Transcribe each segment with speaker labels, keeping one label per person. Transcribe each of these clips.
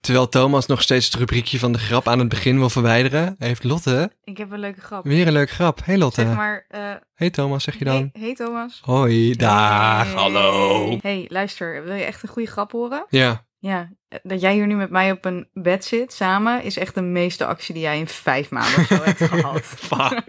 Speaker 1: terwijl Thomas nog steeds het rubriekje van de grap aan het begin wil verwijderen, heeft Lotte
Speaker 2: Ik heb een leuke grap.
Speaker 1: weer een leuke grap. Hey Lotte.
Speaker 2: Zeg maar, eh,
Speaker 1: Hey Thomas, zeg je dan.
Speaker 2: Hey, hey Thomas.
Speaker 1: Hoi, daag.
Speaker 2: Hey. Hey, luister, wil je echt een goede grap horen?
Speaker 1: Ja,
Speaker 2: Ja, eh, dat jij hier nu met mij op een bed zit samen is echt de meeste actie die jij in vijf maanden of zo hebt gehad.
Speaker 1: fuck.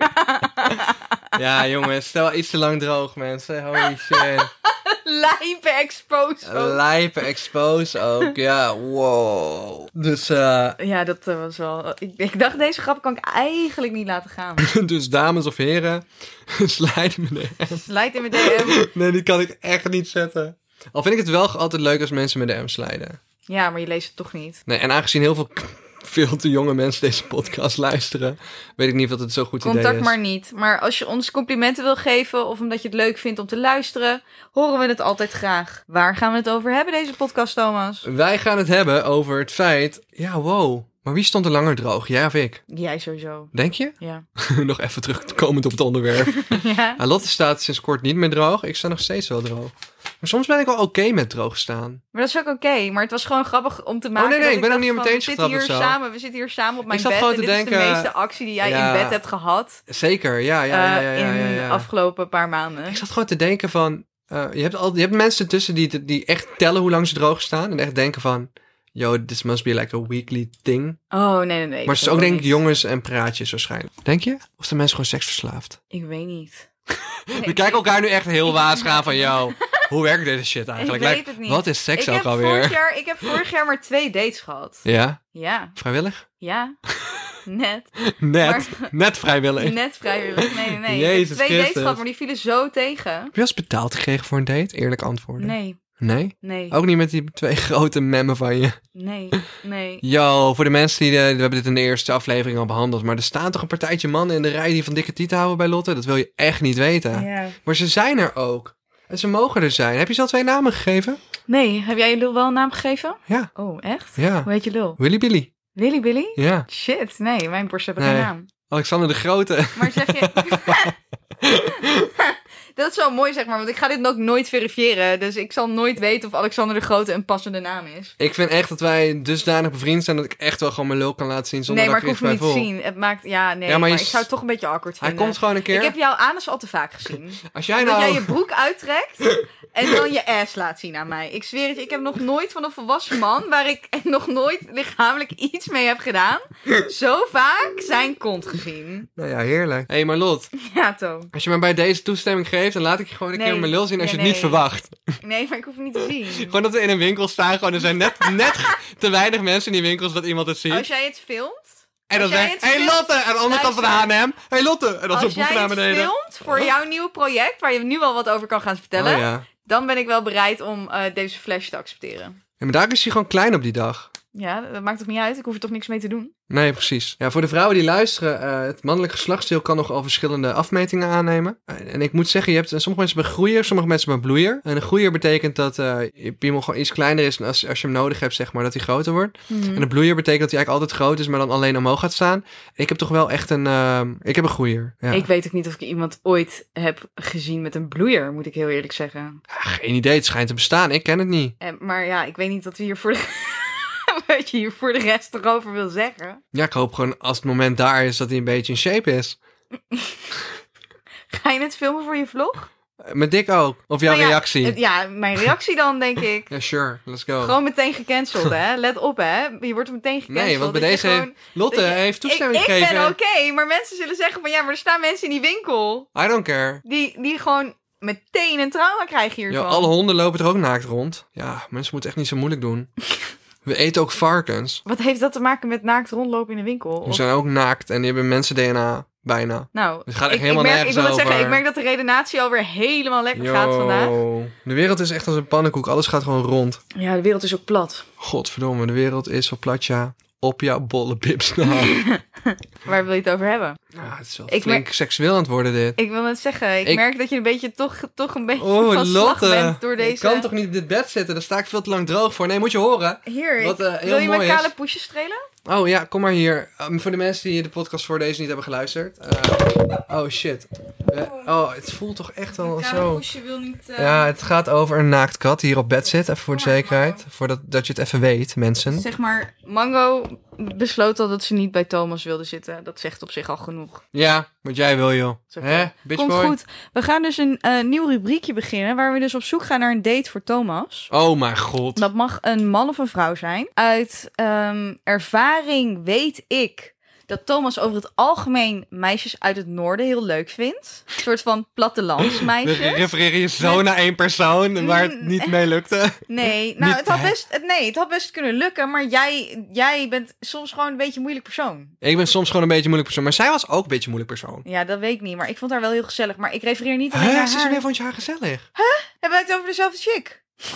Speaker 1: ja, jongens, stel iets te lang droog, mensen. Holy shit.
Speaker 2: Lijpe exposure.
Speaker 1: Lijpen expose ook, ja, wow. Dus, eh,
Speaker 2: Ja, dat eh, was wel. Ik, ik dacht, deze grap kan ik eigenlijk niet laten gaan.
Speaker 1: dus dames of heren, slijt me de
Speaker 2: Slijt in mijn DM.
Speaker 1: Nee, die kan ik echt niet zetten. Al vind ik het wel altijd leuk als mensen me de M slijden.
Speaker 2: Ja, maar je leest het toch niet.
Speaker 1: Nee, en aangezien heel veel, veel te jonge mensen deze podcast luisteren, weet ik niet of dat het zo goed idee
Speaker 2: Contact
Speaker 1: is.
Speaker 2: maar niet. Maar als je ons complimenten wil geven of omdat je het leuk vindt om te luisteren, horen we het altijd graag. Waar gaan we het over hebben, deze podcast, Thomas?
Speaker 1: Wij gaan het hebben over het feit, ja, wow. Maar wie stond er langer droog, jij of ik?
Speaker 2: Jij sowieso.
Speaker 1: Denk je?
Speaker 2: Ja.
Speaker 1: Nog even terugkomend op het onderwerp.
Speaker 2: ja.
Speaker 1: Ah, Lotte staat sinds kort niet meer droog. Ik sta nog steeds wel droog. Maar soms ben ik wel oké met droog staan.
Speaker 2: Maar dat is ook oké. Maar het was gewoon grappig om te maken.
Speaker 1: Oh, nee, nee,
Speaker 2: dat
Speaker 1: ik ben ook niet
Speaker 2: dacht
Speaker 1: op
Speaker 2: van,
Speaker 1: meteen
Speaker 2: we zitten
Speaker 1: getrapt
Speaker 2: hier
Speaker 1: of zo.
Speaker 2: samen, We zitten hier samen op mijn
Speaker 1: zat
Speaker 2: bed.
Speaker 1: gewoon
Speaker 2: en
Speaker 1: te
Speaker 2: dit is
Speaker 1: denken,
Speaker 2: de meeste actie die jij
Speaker 1: ja,
Speaker 2: in bed hebt gehad
Speaker 1: Zeker, ja, ja, ja,
Speaker 2: eh,
Speaker 1: ja. ja, ja,
Speaker 2: in de afgelopen paar maanden.
Speaker 1: Ik zat gewoon te denken van... eh, je, hebt al, je hebt mensen tussen die, die echt tellen hoe lang ze droog staan. En echt denken van... Yo, this must be like a weekly thing.
Speaker 2: Oh, nee, nee, nee.
Speaker 1: maar
Speaker 2: dat
Speaker 1: het is ook
Speaker 2: wil
Speaker 1: denk ik
Speaker 2: niet.
Speaker 1: jongens en praatjes waarschijnlijk. Denk je? Of zijn mensen gewoon seksverslaafd?
Speaker 2: Ik weet niet.
Speaker 1: We kijken elkaar nu echt heel waas aan van... Yo, hoe werkt deze shit eigenlijk?
Speaker 2: Ik weet
Speaker 1: Like,
Speaker 2: het niet.
Speaker 1: Wat is seks
Speaker 2: ik,
Speaker 1: ook
Speaker 2: heb
Speaker 1: alweer?
Speaker 2: vorig jaar, ik heb vorig jaar maar twee dates gehad.
Speaker 1: Ja?
Speaker 2: Ja,
Speaker 1: Vrijwillig?
Speaker 2: ja. Net.
Speaker 1: Net. Net vrijwillig.
Speaker 2: Net vrijwillig. Nee, nee, nee. ik
Speaker 1: Jezus
Speaker 2: heb twee dates
Speaker 1: Christus.
Speaker 2: gehad, maar die vielen zo tegen.
Speaker 1: Heb je wel eens betaald gekregen voor een date? Eerlijk antwoorden.
Speaker 2: Nee,
Speaker 1: Nee?
Speaker 2: nee,
Speaker 1: Ook niet met die twee grote memmen van je.
Speaker 2: nee, nee.
Speaker 1: Yo, voor de mensen die... eh, we hebben dit in de eerste aflevering al behandeld. Maar er staan toch een partijtje mannen in de rij die van dikke tieten houden bij Lotte? Dat wil je echt niet weten.
Speaker 2: Ja.
Speaker 1: Maar ze zijn er ook. En ze mogen er zijn. Heb je ze al twee namen gegeven?
Speaker 2: Nee, heb jij je lul wel een naam gegeven?
Speaker 1: Ja.
Speaker 2: Oh, echt?
Speaker 1: Ja.
Speaker 2: Hoe heet je lul?
Speaker 1: Willy Billy.
Speaker 2: Willy Billy?
Speaker 1: Ja.
Speaker 2: Shit, nee, mijn borst hebben
Speaker 1: Nee.
Speaker 2: geen naam.
Speaker 1: Alexander de Grote.
Speaker 2: Maar zeg je... Dat is wel mooi, zeg maar, want ik ga dit ook nooit verifiëren. Dus ik zal nooit weten of Alexander de Grote een passende naam is.
Speaker 1: Ik vind echt dat wij dusdanig bevriend zijn dat ik echt wel gewoon mijn lul kan laten zien zonder
Speaker 2: nee, maar
Speaker 1: dat
Speaker 2: ik
Speaker 1: ik er
Speaker 2: hoef
Speaker 1: iets
Speaker 2: hem
Speaker 1: bij
Speaker 2: niet te
Speaker 1: voel.
Speaker 2: zien. Het maakt... Ja, nee,
Speaker 1: Ja, maar
Speaker 2: maar,
Speaker 1: je
Speaker 2: ik
Speaker 1: s-
Speaker 2: zou het toch een beetje awkward
Speaker 1: Hij
Speaker 2: vinden.
Speaker 1: komt gewoon een keer.
Speaker 2: Ik heb jouw anus al te vaak gezien.
Speaker 1: Als jij
Speaker 2: Dat
Speaker 1: nou...
Speaker 2: jij je broek uittrekt en dan je ass laat zien aan mij. Ik zweer het je, ik heb nog nooit van een volwassen man, waar ik nog nooit lichamelijk iets mee heb gedaan, zo vaak zijn kont gezien.
Speaker 1: Nou ja, heerlijk. Hé, hey, maar Lot.
Speaker 2: Ja, Toon.
Speaker 1: Als je me bij deze toestemming geeft, dan laat ik je gewoon een
Speaker 2: Nee.
Speaker 1: keer mijn lul zien als
Speaker 2: Nee,
Speaker 1: je het niet
Speaker 2: nee.
Speaker 1: verwacht.
Speaker 2: Nee, maar ik hoef het niet te zien.
Speaker 1: Gewoon dat we in een winkel staan, gewoon er zijn net, net te weinig mensen in die winkels dat iemand het ziet.
Speaker 2: Als jij het filmt,
Speaker 1: en dan
Speaker 2: als jij
Speaker 1: zegt,
Speaker 2: het
Speaker 1: hé hey,
Speaker 2: filmt-
Speaker 1: Lotte! Aan de andere kant van de
Speaker 2: Luister.
Speaker 1: H&M, hé hey, Lotte! En dan zo'n
Speaker 2: als
Speaker 1: boek
Speaker 2: jij
Speaker 1: naar
Speaker 2: het
Speaker 1: beneden.
Speaker 2: filmt voor jouw nieuwe project, waar je nu al wat over kan gaan vertellen,
Speaker 1: Oh, ja.
Speaker 2: dan ben ik wel bereid om eh, deze flash te accepteren.
Speaker 1: Ja, maar daar is hij gewoon klein op die dag.
Speaker 2: Ja, dat maakt toch niet uit? Ik hoef er toch niks mee te doen?
Speaker 1: Nee, precies. Ja, voor de vrouwen die luisteren, eh, het mannelijk geslachtsdeel kan nogal verschillende afmetingen aannemen. Eh, en ik moet zeggen, je hebt eh, sommige mensen hebben een groeier, sommige mensen hebben een bloeier. En een groeier betekent dat eh, je piemel gewoon iets kleiner is dan als, als je hem nodig hebt, zeg maar, dat hij groter wordt.
Speaker 2: Hm. Hmm.
Speaker 1: En een bloeier betekent dat hij eigenlijk altijd groot is, maar dan alleen omhoog gaat staan. Ik heb toch wel echt een, ehm, ik heb een groeier. Ja.
Speaker 2: Ik weet ook niet of ik iemand ooit heb gezien met een bloeier, moet ik heel eerlijk zeggen.
Speaker 1: Ah, geen idee, het schijnt te bestaan. Ik ken het niet.
Speaker 2: Eh, maar ja, ik weet niet dat we hier voor de... wat je hier voor de rest nog over wil zeggen.
Speaker 1: Ja, ik hoop gewoon als het moment daar is dat hij een beetje in shape is.
Speaker 2: Ga je het filmen voor je vlog?
Speaker 1: Eh, Met dik ook. Of jouw
Speaker 2: Nou ja,
Speaker 1: reactie.
Speaker 2: het- ja, mijn reactie dan, denk ik.
Speaker 1: Ja, sure. Let's go.
Speaker 2: Gewoon meteen gecanceld, hè? Let op, hè? Je wordt meteen gecanceld.
Speaker 1: nee, want bij
Speaker 2: dat je
Speaker 1: deze heeft-
Speaker 2: gewoon-
Speaker 1: Lotte
Speaker 2: dat je-
Speaker 1: heeft toestemming
Speaker 2: ik, ik
Speaker 1: gegeven.
Speaker 2: ben oké, maar mensen zullen zeggen van... Ja, maar er staan mensen in die winkel...
Speaker 1: I don't care.
Speaker 2: die, die gewoon meteen een trauma krijgen
Speaker 1: Ja,
Speaker 2: hiervan.
Speaker 1: alle honden lopen er ook naakt rond. Ja, mensen moeten echt niet zo moeilijk doen. We eten ook varkens.
Speaker 2: Wat heeft dat te maken met naakt rondlopen in een winkel?
Speaker 1: Die
Speaker 2: Of-
Speaker 1: zijn ook naakt en die hebben mensen DNA bijna.
Speaker 2: Nou,
Speaker 1: Het gaat echt
Speaker 2: ik,
Speaker 1: helemaal
Speaker 2: ik merk,
Speaker 1: nergens
Speaker 2: ik wil het zeggen,
Speaker 1: over.
Speaker 2: ik merk dat de redenatie alweer helemaal lekker
Speaker 1: Yo.
Speaker 2: gaat vandaag.
Speaker 1: De wereld is echt als een pannenkoek. Alles gaat gewoon rond.
Speaker 2: Ja, de wereld is ook plat.
Speaker 1: Godverdomme, de wereld is van platja op jouw bolle pips. Nou,
Speaker 2: Waar wil je het over hebben?
Speaker 1: nou, het is wel
Speaker 2: Ik
Speaker 1: flink seksueel aan het worden dit.
Speaker 2: Ik wil net zeggen, ik,
Speaker 1: Ik-
Speaker 2: merk dat je een beetje toch, toch een beetje
Speaker 1: Oh,
Speaker 2: van slag
Speaker 1: Lotte.
Speaker 2: bent door
Speaker 1: Ik
Speaker 2: deze...
Speaker 1: kan toch niet in dit bed zitten? Daar sta ik veel te lang droog voor. Nee, moet je horen.
Speaker 2: Hier,
Speaker 1: Wat,
Speaker 2: ik-
Speaker 1: eh, heel
Speaker 2: wil je mijn
Speaker 1: mooi is-
Speaker 2: kale poesje strelen?
Speaker 1: Oh ja, kom maar hier. Um, voor de mensen die de podcast voor deze niet hebben geluisterd. Eh, oh shit. Eh, oh, het voelt toch echt al zo.
Speaker 2: Je wil niet... eh,
Speaker 1: Ja, het gaat over een naaktkat die hier op bed zit. Even voor de
Speaker 2: Kom maar,
Speaker 1: zekerheid. Voordat dat je het even weet, mensen.
Speaker 2: Zeg maar, Mango besloot al dat ze niet bij Thomas wilde zitten. Dat zegt op zich al genoeg.
Speaker 1: Ja, wat jij wil, joh.
Speaker 2: Zeg
Speaker 1: Hè?
Speaker 2: maar.
Speaker 1: Bitch
Speaker 2: Komt
Speaker 1: boy.
Speaker 2: goed. We gaan dus een eh, nieuw rubriekje beginnen waar we dus op zoek gaan naar een date voor Thomas.
Speaker 1: Oh mijn god.
Speaker 2: Dat mag een man of een vrouw zijn. Uit ehm, ervaring weet ik dat Thomas over het algemeen meisjes uit het noorden heel leuk vindt. Een soort van
Speaker 1: We
Speaker 2: plattelandsmeisjes.
Speaker 1: refereren je zo naar één persoon waar het
Speaker 2: Mm.
Speaker 1: niet mee lukte.
Speaker 2: Nee, nou,
Speaker 1: Niet,
Speaker 2: het had
Speaker 1: hè?
Speaker 2: best, het- nee, het had best kunnen lukken, maar jij, jij bent soms gewoon een beetje een moeilijk persoon.
Speaker 1: Ik ben soms gewoon een beetje een moeilijk persoon. Maar zij was ook een beetje een moeilijk persoon.
Speaker 2: Ja, dat weet ik niet, maar ik vond haar wel heel gezellig. Maar ik refereer niet alleen
Speaker 1: Hè?
Speaker 2: naar haar.
Speaker 1: Ze vond je haar gezellig.
Speaker 2: Hebben wij het over dezelfde chick?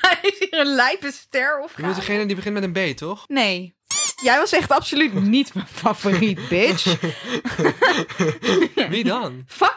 Speaker 2: Hij is hier een lijpe ster of
Speaker 1: Je moet degene die begint met een B, toch?
Speaker 2: Nee. Jij was echt absoluut niet mijn favoriet, bitch.
Speaker 1: Wie dan?
Speaker 2: Fuck.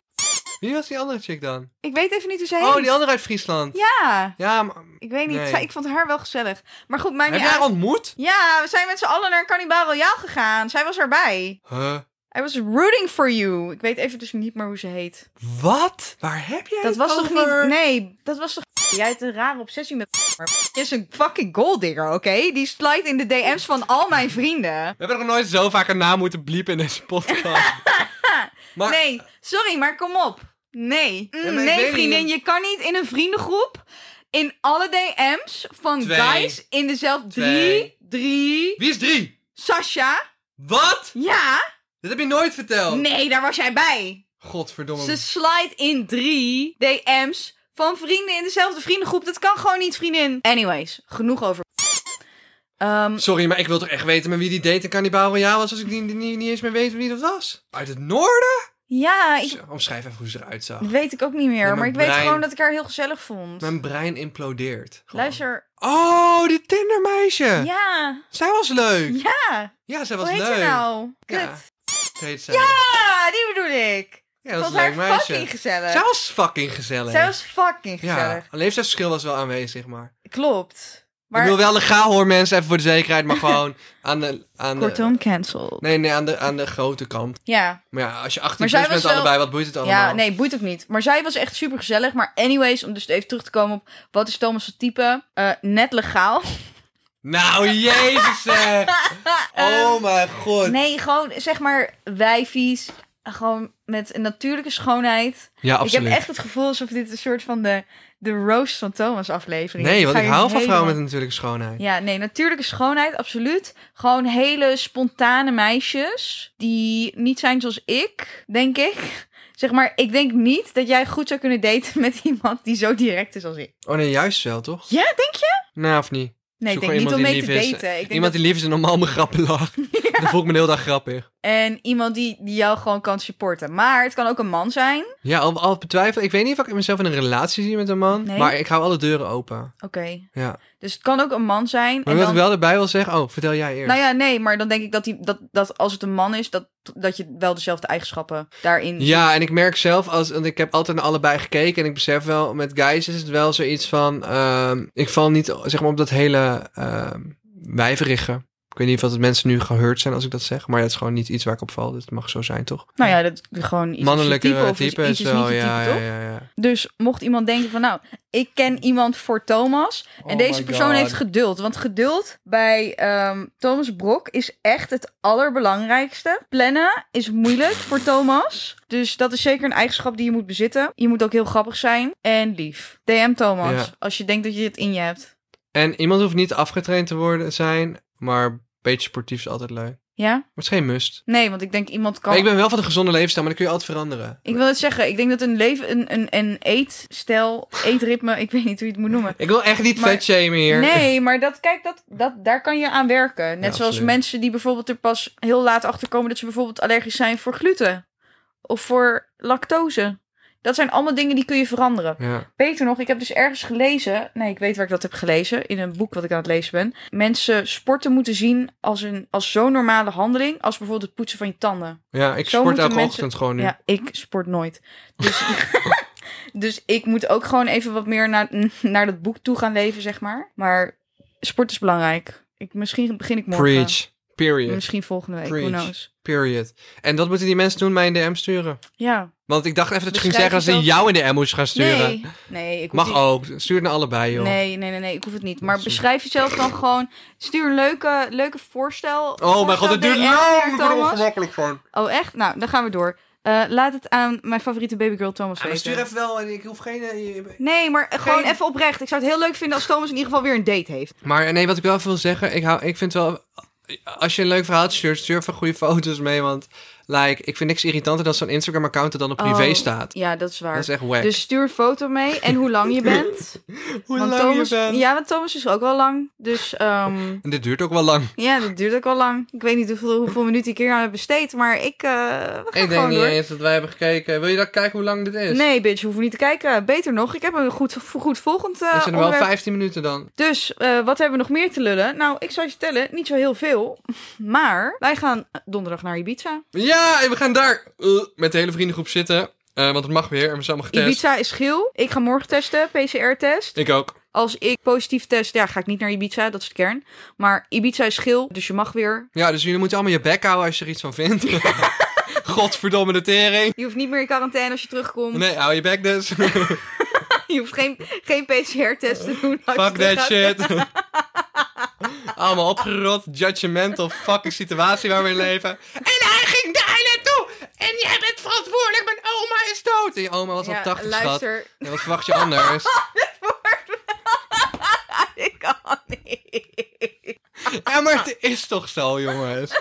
Speaker 1: Wie was die andere chick dan?
Speaker 2: Ik weet even niet hoe ze heet.
Speaker 1: Oh, die andere uit Friesland.
Speaker 2: Ja,
Speaker 1: Ja, maar...
Speaker 2: ik weet niet.
Speaker 1: Nee.
Speaker 2: Zij- Ik vond haar wel gezellig. Maar goed, mijn
Speaker 1: Heb je haar ontmoet?
Speaker 2: Ja, we zijn met z'n allen naar Cannibal Royale gegaan. Zij was erbij.
Speaker 1: Huh?
Speaker 2: I was rooting for you. Ik weet even dus niet meer hoe ze heet.
Speaker 1: Wat? Waar heb jij
Speaker 2: Dat
Speaker 1: het
Speaker 2: was toch
Speaker 1: over?
Speaker 2: niet... Nee, dat was toch... Jij hebt een rare obsessie met... Maar is een fucking golddigger, oké? Die slide in de DM's van al mijn vrienden.
Speaker 1: We hebben er nog nooit zo vaak een naam moeten bliepen in deze podcast. maar
Speaker 2: Nee, sorry, maar kom op. Nee. Mm,
Speaker 1: Ja, maar ik weet
Speaker 2: nee,
Speaker 1: niet.
Speaker 2: vriendin, je kan niet in een vriendengroep in alle DM's van
Speaker 1: Twee.
Speaker 2: guys in dezelfde drie,
Speaker 1: Twee.
Speaker 2: drie.
Speaker 1: wie is drie?
Speaker 2: Sasha?
Speaker 1: Wat?
Speaker 2: Ja?
Speaker 1: Dat heb je nooit verteld.
Speaker 2: Nee, daar was jij bij.
Speaker 1: Godverdomme.
Speaker 2: Ze slide in drie DM's van vrienden in dezelfde vriendengroep. Dat kan gewoon niet, vriendin. Anyways, genoeg over. Ehm,
Speaker 1: Sorry, maar ik wil toch echt weten met wie die date in Cannibal Royale was... als ik niet, niet, niet eens meer weet wie dat was? Uit het noorden?
Speaker 2: ja, ik,
Speaker 1: Zo, Omschrijf even hoe ze eruit zag.
Speaker 2: dat weet ik ook niet meer.
Speaker 1: mijn
Speaker 2: maar ik weet
Speaker 1: brein-
Speaker 2: gewoon dat ik haar heel gezellig vond.
Speaker 1: Mijn brein implodeert. Gewoon.
Speaker 2: Luister.
Speaker 1: Oh, die Tindermeisje.
Speaker 2: Ja.
Speaker 1: Zij was leuk.
Speaker 2: Ja.
Speaker 1: Ja, zij Eh. was
Speaker 2: Hoe heet
Speaker 1: leuk.
Speaker 2: ze nou? Kut.
Speaker 1: Ja. Heet zij.
Speaker 2: Ja, die bedoel ik.
Speaker 1: Ja,
Speaker 2: Ik
Speaker 1: dat
Speaker 2: vond
Speaker 1: is een
Speaker 2: haar
Speaker 1: leuk meisje.
Speaker 2: fucking gezellig.
Speaker 1: Zij was fucking gezellig.
Speaker 2: Zij was fucking
Speaker 1: Ja,
Speaker 2: gezellig.
Speaker 1: een leeftijdsverschil was wel aanwezig, maar...
Speaker 2: Klopt.
Speaker 1: Ik
Speaker 2: Maar
Speaker 1: wil wel legaal hoor, mensen, even voor de zekerheid, maar gewoon aan de... Aan de
Speaker 2: kortom, cancel.
Speaker 1: nee, nee, aan de, aan de grote kant.
Speaker 2: Ja.
Speaker 1: Maar ja, als je
Speaker 2: Maar
Speaker 1: 18
Speaker 2: zij
Speaker 1: plus bent
Speaker 2: was wel-
Speaker 1: allebei, wat boeit het allemaal?
Speaker 2: ja, nee, boeit ook niet. Maar zij was echt super gezellig. Maar anyways, om dus even terug te komen op wat is Thomas' voor type? Eh, net legaal.
Speaker 1: Nou, jezus zeg! Oh mijn god.
Speaker 2: Eh, Ehm, Nee, gewoon zeg maar wijfies. Gewoon met een natuurlijke schoonheid.
Speaker 1: Ja,
Speaker 2: Ik heb echt het gevoel alsof dit een soort van de, de roast van Thomas aflevering is.
Speaker 1: Nee, want
Speaker 2: ga
Speaker 1: ik
Speaker 2: hier
Speaker 1: hou van
Speaker 2: helemaal-
Speaker 1: vrouwen met een natuurlijke schoonheid.
Speaker 2: Ja, nee, natuurlijke schoonheid, absoluut. Gewoon hele spontane meisjes die niet zijn zoals ik, denk ik. Zeg maar, ik denk niet dat jij goed zou kunnen daten met iemand die zo direct is als ik.
Speaker 1: Oh nee, juist wel, toch?
Speaker 2: Ja, denk je?
Speaker 1: Nou, of niet?
Speaker 2: Nee,
Speaker 1: Zoek
Speaker 2: ik
Speaker 1: gewoon
Speaker 2: denk niet om
Speaker 1: iemand
Speaker 2: mee
Speaker 1: die
Speaker 2: te
Speaker 1: lief is.
Speaker 2: daten. Ik denk
Speaker 1: Iemand
Speaker 2: dat-
Speaker 1: die lief is en normaal mijn grappen lacht. Dan voel ik me de hele dag grappig.
Speaker 2: En iemand die, die jou gewoon kan supporten. Maar het kan ook een man zijn. Oké.
Speaker 1: Ja, al, al betwijfel. Ik weet niet of ik mezelf in een relatie zie met een man.
Speaker 2: Nee.
Speaker 1: Maar ik hou alle deuren open. Ja.
Speaker 2: Dus het kan ook een man zijn.
Speaker 1: Maar
Speaker 2: en
Speaker 1: wat
Speaker 2: dan...
Speaker 1: ik wel erbij wil zeggen... Oh, vertel jij eerst.
Speaker 2: Nou ja, nee, maar dan denk ik dat, die, dat, dat als het een man is, dat, dat je wel dezelfde eigenschappen daarin
Speaker 1: Ja, en ik merk zelf, als, want ik heb altijd naar allebei gekeken en ik besef wel, met guys is het wel zoiets van, ehm, ik val niet zeg maar, op dat hele ehm wijverige. Ik weet niet of dat mensen nu geheurd zijn als ik dat zeg, maar dat is gewoon niet iets waar ik op val. Dat mag zo zijn, toch?
Speaker 2: Nou ja, dat gewoon iets
Speaker 1: Mannelijke
Speaker 2: type
Speaker 1: type,
Speaker 2: of iets, iets
Speaker 1: is
Speaker 2: is niet
Speaker 1: wel,
Speaker 2: je type,
Speaker 1: ja, ja,
Speaker 2: toch?
Speaker 1: ja, ja.
Speaker 2: Dus mocht iemand denken van nou, ik ken iemand voor Thomas en
Speaker 1: Oh
Speaker 2: deze
Speaker 1: my
Speaker 2: persoon
Speaker 1: God.
Speaker 2: heeft geduld, want geduld bij ehm, Thomas Brok is echt het allerbelangrijkste. Plannen is moeilijk voor Thomas, dus dat is zeker een eigenschap die je moet bezitten. Je moet ook heel grappig zijn en lief. DM Thomas
Speaker 1: Ja.
Speaker 2: als je denkt dat je het in je hebt.
Speaker 1: En iemand hoeft niet afgetraind te worden zijn, maar een beetje sportief is altijd leuk.
Speaker 2: Ja?
Speaker 1: Maar het is geen must.
Speaker 2: Nee, want ik denk iemand kan.
Speaker 1: Maar ik ben wel van een gezonde leefstijl, maar dat kun je altijd veranderen.
Speaker 2: Ik wil het zeggen, ik denk dat een leven, een, een, een eetstijl, eetritme, ik weet niet hoe je het moet noemen.
Speaker 1: Ik wil echt niet
Speaker 2: Maar-
Speaker 1: vet shamen hier.
Speaker 2: Nee, maar dat, kijk, dat, dat, daar kan je aan werken. Net zoals
Speaker 1: absoluut.
Speaker 2: mensen die bijvoorbeeld er pas heel laat achter komen dat ze bijvoorbeeld allergisch zijn voor gluten of voor lactose. Dat zijn allemaal dingen die kun je veranderen.
Speaker 1: Ja.
Speaker 2: Beter nog, ik heb dus ergens gelezen. Nee, ik weet waar ik dat heb gelezen. In een boek wat ik aan het lezen ben. Mensen sporten moeten zien als, een, als zo'n normale handeling. Als bijvoorbeeld het poetsen van je tanden.
Speaker 1: ja, ik
Speaker 2: Zo
Speaker 1: sport
Speaker 2: moeten
Speaker 1: elke
Speaker 2: mensen-
Speaker 1: ochtend gewoon nu.
Speaker 2: Ja, ik sport nooit. Dus, dus ik moet ook gewoon even wat meer naar, naar dat boek toe gaan leven, zeg maar. Maar sport is belangrijk. Ik, misschien begin ik morgen.
Speaker 1: Preach. Period.
Speaker 2: Misschien volgende week, who
Speaker 1: Preach.
Speaker 2: knows.
Speaker 1: Period. En dat moeten die mensen doen, mij een DM sturen.
Speaker 2: Ja.
Speaker 1: Want ik dacht even dat je ging
Speaker 2: Beschrijf
Speaker 1: zeggen als ze
Speaker 2: jezelf.
Speaker 1: jou in de DM moest gaan sturen.
Speaker 2: Nee, nee, ik hoef
Speaker 1: Mag
Speaker 2: niet-
Speaker 1: ook. Stuur het naar allebei, joh.
Speaker 2: Nee, nee, nee, nee, ik hoef het niet. Maar beschrijf jezelf dan gewoon. Stuur een leuke, leuke voorstel.
Speaker 1: Oh mijn god,
Speaker 2: het
Speaker 1: het duurt lang. Ik word er ongemakkelijk van.
Speaker 2: Oh, echt? Nou, dan gaan we door. Eh, laat het aan mijn favoriete babygirl Thomas
Speaker 1: Ja, maar
Speaker 2: weten.
Speaker 1: stuur even wel en ik hoef geen... eh,
Speaker 2: Nee, maar gewoon
Speaker 1: Geen-
Speaker 2: even oprecht. Ik zou het heel leuk vinden als Thomas in ieder geval weer een date heeft.
Speaker 1: Maar nee, wat ik wel even wil zeggen, ik, hou, ik vind wel... Als je een leuk verhaal stuurt, stuur even goede foto's mee. Want like, ik vind niks irritanter dan zo'n Instagram-account er dan op privé
Speaker 2: Oh,
Speaker 1: staat.
Speaker 2: Ja, dat is waar.
Speaker 1: Dat is echt wack.
Speaker 2: dus stuur een foto mee en hoe lang je bent.
Speaker 1: Hoe
Speaker 2: Want Thomas, Ja, want Thomas is ook wel lang. Dus ehm,
Speaker 1: En dit duurt ook wel lang.
Speaker 2: ja, dat duurt ook wel lang. Ik weet niet hoeveel, hoeveel minuten ik hier aan heb besteed, maar ik... eh, we gaan
Speaker 1: Ik denk
Speaker 2: gewoon
Speaker 1: niet
Speaker 2: door.
Speaker 1: eens dat wij hebben gekeken. Wil je dan kijken hoe lang dit is?
Speaker 2: Nee, bitch, we hoeven niet te kijken. Beter nog, ik heb een goed, goed volgend eh,
Speaker 1: Het zijn er wel
Speaker 2: onderwerp.
Speaker 1: 15 minuten dan.
Speaker 2: Dus eh, wat hebben we nog meer te lullen? Nou, ik zou je vertellen, niet zo heel veel. Maar wij gaan donderdag naar Ibiza.
Speaker 1: Ja, en we gaan daar eh, met de hele vriendengroep zitten. Eh, want het mag weer. En we zijn allemaal getest.
Speaker 2: Ibiza is geel. Ik ga morgen testen, PCR-test.
Speaker 1: Ik ook.
Speaker 2: Als ik positief test, ja, ga ik niet naar Ibiza, dat is de kern. Maar Ibiza is geel, dus je mag weer.
Speaker 1: Ja, dus jullie moeten allemaal je bek houden als je er iets van vindt. Godverdomme de tering.
Speaker 2: Je hoeft niet meer in quarantaine als je terugkomt.
Speaker 1: Nee, hou je bek dus.
Speaker 2: Je hoeft geen, geen PCR-test te doen. Als je
Speaker 1: Eh, Fuck that
Speaker 2: teruggaat.
Speaker 1: shit. Allemaal opgerot, judgmental fucking situatie waar we in leven. En hij ging daar naartoe! En jij bent verantwoordelijk, mijn oma is dood! En je oma was al
Speaker 2: Ja,
Speaker 1: 80, schat.
Speaker 2: luister.
Speaker 1: En wat verwacht je anders?
Speaker 2: Ik kan niet.
Speaker 1: Ja, maar het is toch zo, jongens.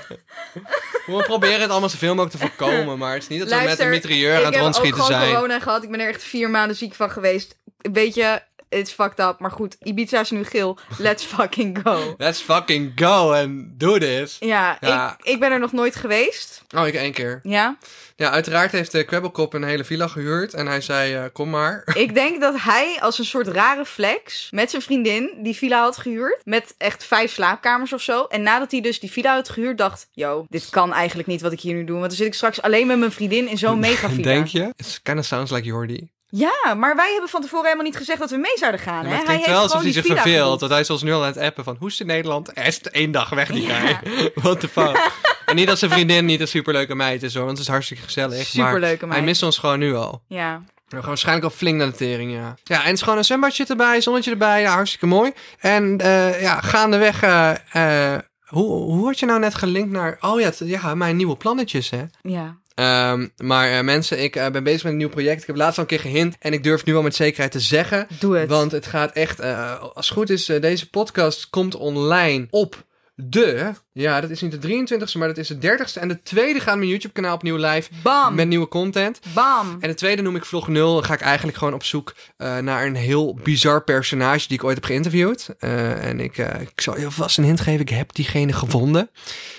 Speaker 1: We proberen het allemaal zoveel mogelijk te voorkomen, maar het is niet dat we
Speaker 2: Luister,
Speaker 1: met een mitrailleur aan het
Speaker 2: Ik
Speaker 1: rondschieten
Speaker 2: heb ook
Speaker 1: zijn.
Speaker 2: gewoon corona gehad. Ik ben er echt vier maanden ziek van geweest. Weet je, it's fucked up. Maar goed, Ibiza is nu geel. Let's fucking go.
Speaker 1: Let's fucking go and do this.
Speaker 2: Ja,
Speaker 1: Ja.
Speaker 2: Ik, ik ben er nog nooit geweest.
Speaker 1: Oh, ik één keer.
Speaker 2: Ja.
Speaker 1: Ja, uiteraard heeft de Kwebbelkop een hele villa gehuurd en hij zei, eh, kom maar.
Speaker 2: Ik denk dat hij als een soort rare flex met zijn vriendin die villa had gehuurd. Met echt vijf slaapkamers of zo. En nadat hij dus die villa had gehuurd, dacht: Yo, dit kan eigenlijk niet wat ik hier nu doe. Want dan zit ik straks alleen met mijn vriendin in zo'n mega villa.
Speaker 1: Denk je? It kind of sounds like Jordi.
Speaker 2: Ja, maar wij hebben van tevoren helemaal niet gezegd dat we mee zouden
Speaker 1: Ja,
Speaker 2: gaan. hè?
Speaker 1: maar het
Speaker 2: hij
Speaker 1: klinkt
Speaker 2: heeft
Speaker 1: wel alsof
Speaker 2: gewoon
Speaker 1: hij
Speaker 2: die
Speaker 1: zich
Speaker 2: villa
Speaker 1: verveelt.
Speaker 2: geboekt.
Speaker 1: Want hij is ons nu al aan het appen van... Hoe is het in Nederland? Hij is één dag weg, die
Speaker 2: Ja.
Speaker 1: guy. What the fuck? en niet dat zijn vriendin niet een superleuke meid is, hoor. Want het is hartstikke gezellig.
Speaker 2: Superleuke
Speaker 1: maar
Speaker 2: meid.
Speaker 1: hij mist ons gewoon nu al.
Speaker 2: Ja.
Speaker 1: We gaan waarschijnlijk al flink naar de tering, ja. Ja, en het is gewoon een zwembadje erbij, zonnetje erbij. Ja, hartstikke mooi. En eh ja, gaandeweg... eh, eh, hoe, hoe had je nou net gelinkt naar... Oh ja, t- ja mijn nieuwe plannetjes, hè?
Speaker 2: Ja.
Speaker 1: Ehm, maar eh, mensen, ik eh, ben bezig met een nieuw project. Ik heb laatst al een keer gehint. En ik durf nu al met zekerheid te zeggen...
Speaker 2: Doe het.
Speaker 1: Want het gaat echt, eh, als het goed is, eh, deze podcast komt online op de, ja, dat is niet de 23ste, maar dat is de 30ste. En de tweede gaat mijn YouTube-kanaal opnieuw live
Speaker 2: Bam.
Speaker 1: met nieuwe content.
Speaker 2: Bam.
Speaker 1: En de tweede noem ik vlog 0. Dan ga ik eigenlijk gewoon op zoek eh, naar een heel bizar personage die ik ooit heb geïnterviewd. Eh, en ik, eh, ik zal je vast een hint geven, ik heb diegene gevonden.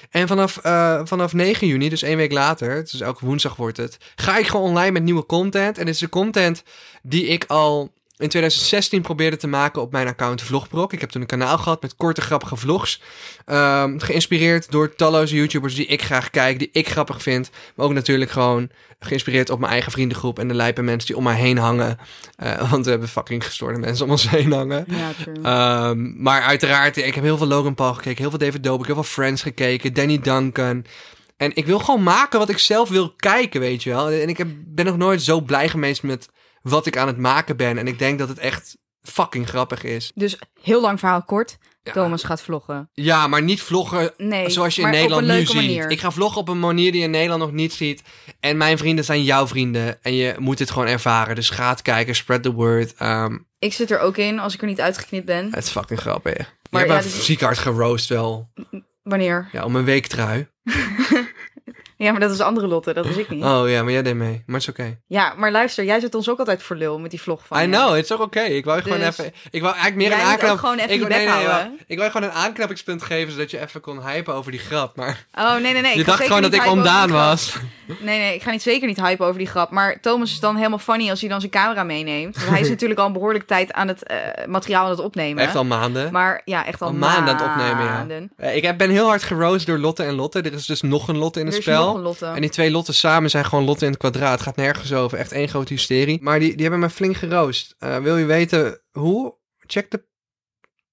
Speaker 1: En vanaf, eh, vanaf 9 juni, dus één week later, dus elke woensdag wordt het, ga ik gewoon online met nieuwe content. En dit is de content die ik al in 2016 probeerde te maken op mijn account Vlogbrok. Ik heb toen een kanaal gehad met korte grappige vlogs. Ehm, geïnspireerd door talloze YouTubers die ik graag kijk, die ik grappig vind. Maar ook natuurlijk gewoon geïnspireerd op mijn eigen vriendengroep en de lijpe mensen die om mij heen hangen. Eh, want we hebben fucking gestoorde mensen om ons heen hangen.
Speaker 2: Ja, true. Ah.
Speaker 1: Ehm, maar uiteraard, ik heb heel veel Logan Paul gekeken, heel veel David Dobrik, heel veel Friends gekeken, Danny Duncan. En ik wil gewoon maken wat ik zelf wil kijken, weet je wel. En ik heb, ben nog nooit zo blij geweest met wat ik aan het maken ben. En ik denk dat het echt fucking grappig is.
Speaker 2: Dus heel lang verhaal kort.
Speaker 1: Ja.
Speaker 2: Thomas gaat vloggen.
Speaker 1: Ja, maar niet vloggen
Speaker 2: Nee,
Speaker 1: zoals je in
Speaker 2: maar
Speaker 1: Nederland
Speaker 2: op een
Speaker 1: nu
Speaker 2: leuke
Speaker 1: ziet.
Speaker 2: manier.
Speaker 1: Ik ga vloggen op een manier die je in Nederland nog niet ziet. En mijn vrienden zijn jouw vrienden. En je moet dit gewoon ervaren. Dus ga het kijken, spread the word. Ehm,
Speaker 2: Ik zit er ook in als ik er niet uitgeknipt ben.
Speaker 1: het is fucking grappig. Maar je
Speaker 2: Maar
Speaker 1: hebt
Speaker 2: ja, dus-
Speaker 1: me
Speaker 2: dit is-
Speaker 1: ziek hard geroost wel.
Speaker 2: Wanneer?
Speaker 1: Ja, om een weektrui.
Speaker 2: Ja, maar dat is andere Lotte, dat is ik niet.
Speaker 1: Oh ja, maar jij deed mee. Maar het is oké.
Speaker 2: Ja, maar luister, jij zet ons ook altijd voor lul met die vlog van
Speaker 1: I
Speaker 2: je.
Speaker 1: know, het is ook oké. Ik wou je gewoon
Speaker 2: Dus
Speaker 1: even... Ik wou eigenlijk meer
Speaker 2: jij
Speaker 1: een
Speaker 2: moet ook
Speaker 1: aanknap...
Speaker 2: gewoon even
Speaker 1: ik,
Speaker 2: je
Speaker 1: wou-
Speaker 2: bek houden.
Speaker 1: wacht. ik wou je gewoon een aanknapingspunt geven, zodat je even kon hypen over die grap. Maar
Speaker 2: Oh, nee, nee, nee.
Speaker 1: je
Speaker 2: ga
Speaker 1: dacht
Speaker 2: zeker
Speaker 1: gewoon dat
Speaker 2: niet
Speaker 1: ik
Speaker 2: hypen over
Speaker 1: ondaan
Speaker 2: die grap.
Speaker 1: was.
Speaker 2: Nee, nee, ik ga niet, zeker niet hypen over die grap. Maar Thomas is dan helemaal funny als hij dan zijn camera meeneemt. Want hij is natuurlijk al een behoorlijke tijd aan het eh, materiaal aan het opnemen.
Speaker 1: Echt al maanden.
Speaker 2: Maar ja, echt al,
Speaker 1: Al maanden aan het opnemen, ja.
Speaker 2: maanden.
Speaker 1: Eh, Ik heb- ben heel hard geroost door Lotte en Lotte. Er is dus nog een Lotte in
Speaker 2: Er
Speaker 1: het
Speaker 2: is
Speaker 1: spel.
Speaker 2: nog een Lotte.
Speaker 1: En die twee Lotten samen zijn gewoon Lotte in het kwadraat. Het gaat nergens over. Echt één grote hysterie. Maar die, die hebben me flink geroost. Eh, wil je weten hoe? Check de